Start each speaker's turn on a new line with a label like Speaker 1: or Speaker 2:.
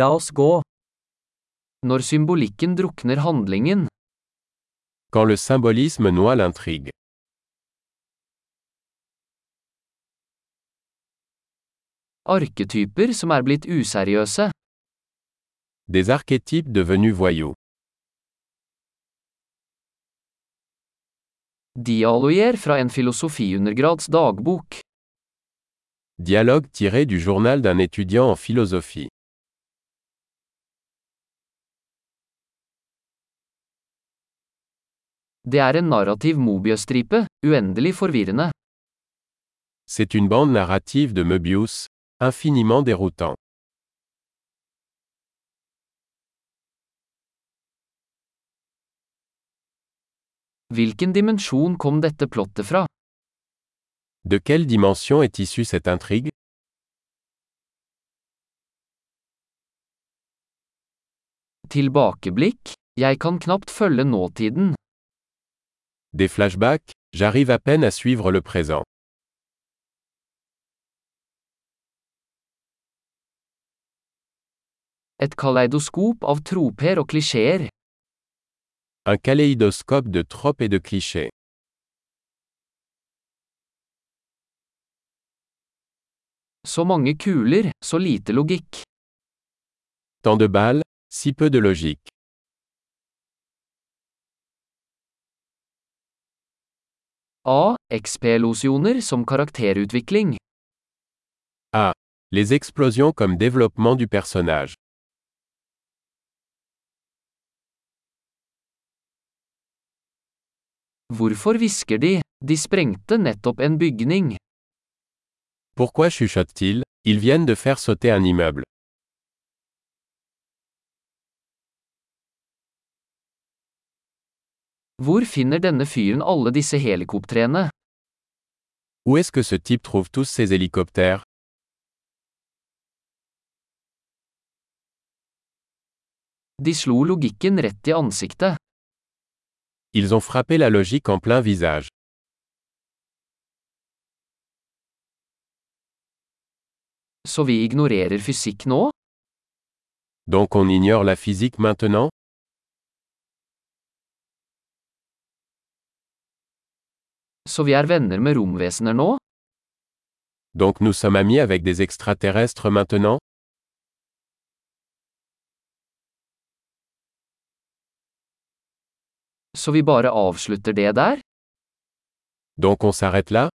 Speaker 1: La oss gå. Når symbolikken drukner handlingen,
Speaker 2: Quand le symbolisme noie l'intrigue.
Speaker 1: arketyper som er blitt useriøse,
Speaker 2: Des archétypes devenus voyous.
Speaker 1: dialoger fra en filosofiundergrads dagbok,
Speaker 2: Dialogue tiré du journal d'un étudiant en philosophie.
Speaker 1: det er en narrativ mobiøstripe, uendelig forvirrende,
Speaker 2: C'est une bande narrative de Möbius, infiniment déroutant.
Speaker 1: hvilken dimensjon kom dette plottet fra,
Speaker 2: De quelle dimension est issue cette intrigue
Speaker 1: tilbakeblikk, jeg kan knapt følge nåtiden,
Speaker 2: Des flashbacks J'arrive à peine à suivre le présent.
Speaker 1: et kaleidoskop av troper og klisjeer,
Speaker 2: Un kaléidoscope de tropes et de clichés.
Speaker 1: så mange kuler, så lite logikk,
Speaker 2: Tant de balles, si peu de logique.
Speaker 1: A, XP-losjoner som karakterutvikling,
Speaker 2: Les explosions comme développement du personnage.
Speaker 1: hvorfor hvisker de, de sprengte nettopp en bygning.
Speaker 2: Pourquoi chuchote-t-il Ils viennent de faire sauter un immeuble.
Speaker 1: Hvor finner denne fyren alle disse helikoptrene?
Speaker 2: Où est-ce que ce type trouve tous ces hélicoptères
Speaker 1: De slo logikken rett i ansiktet.
Speaker 2: Ils ont frappé la logique en plein visage.
Speaker 1: Så vi ignorerer fysikk nå?
Speaker 2: Donc on ignore la physique maintenant
Speaker 1: Så vi er venner med romvesener nå?
Speaker 2: Donc nous sommes amis avec des extraterrestres maintenant
Speaker 1: Så vi bare avslutter det der?
Speaker 2: Donc on s'arrête là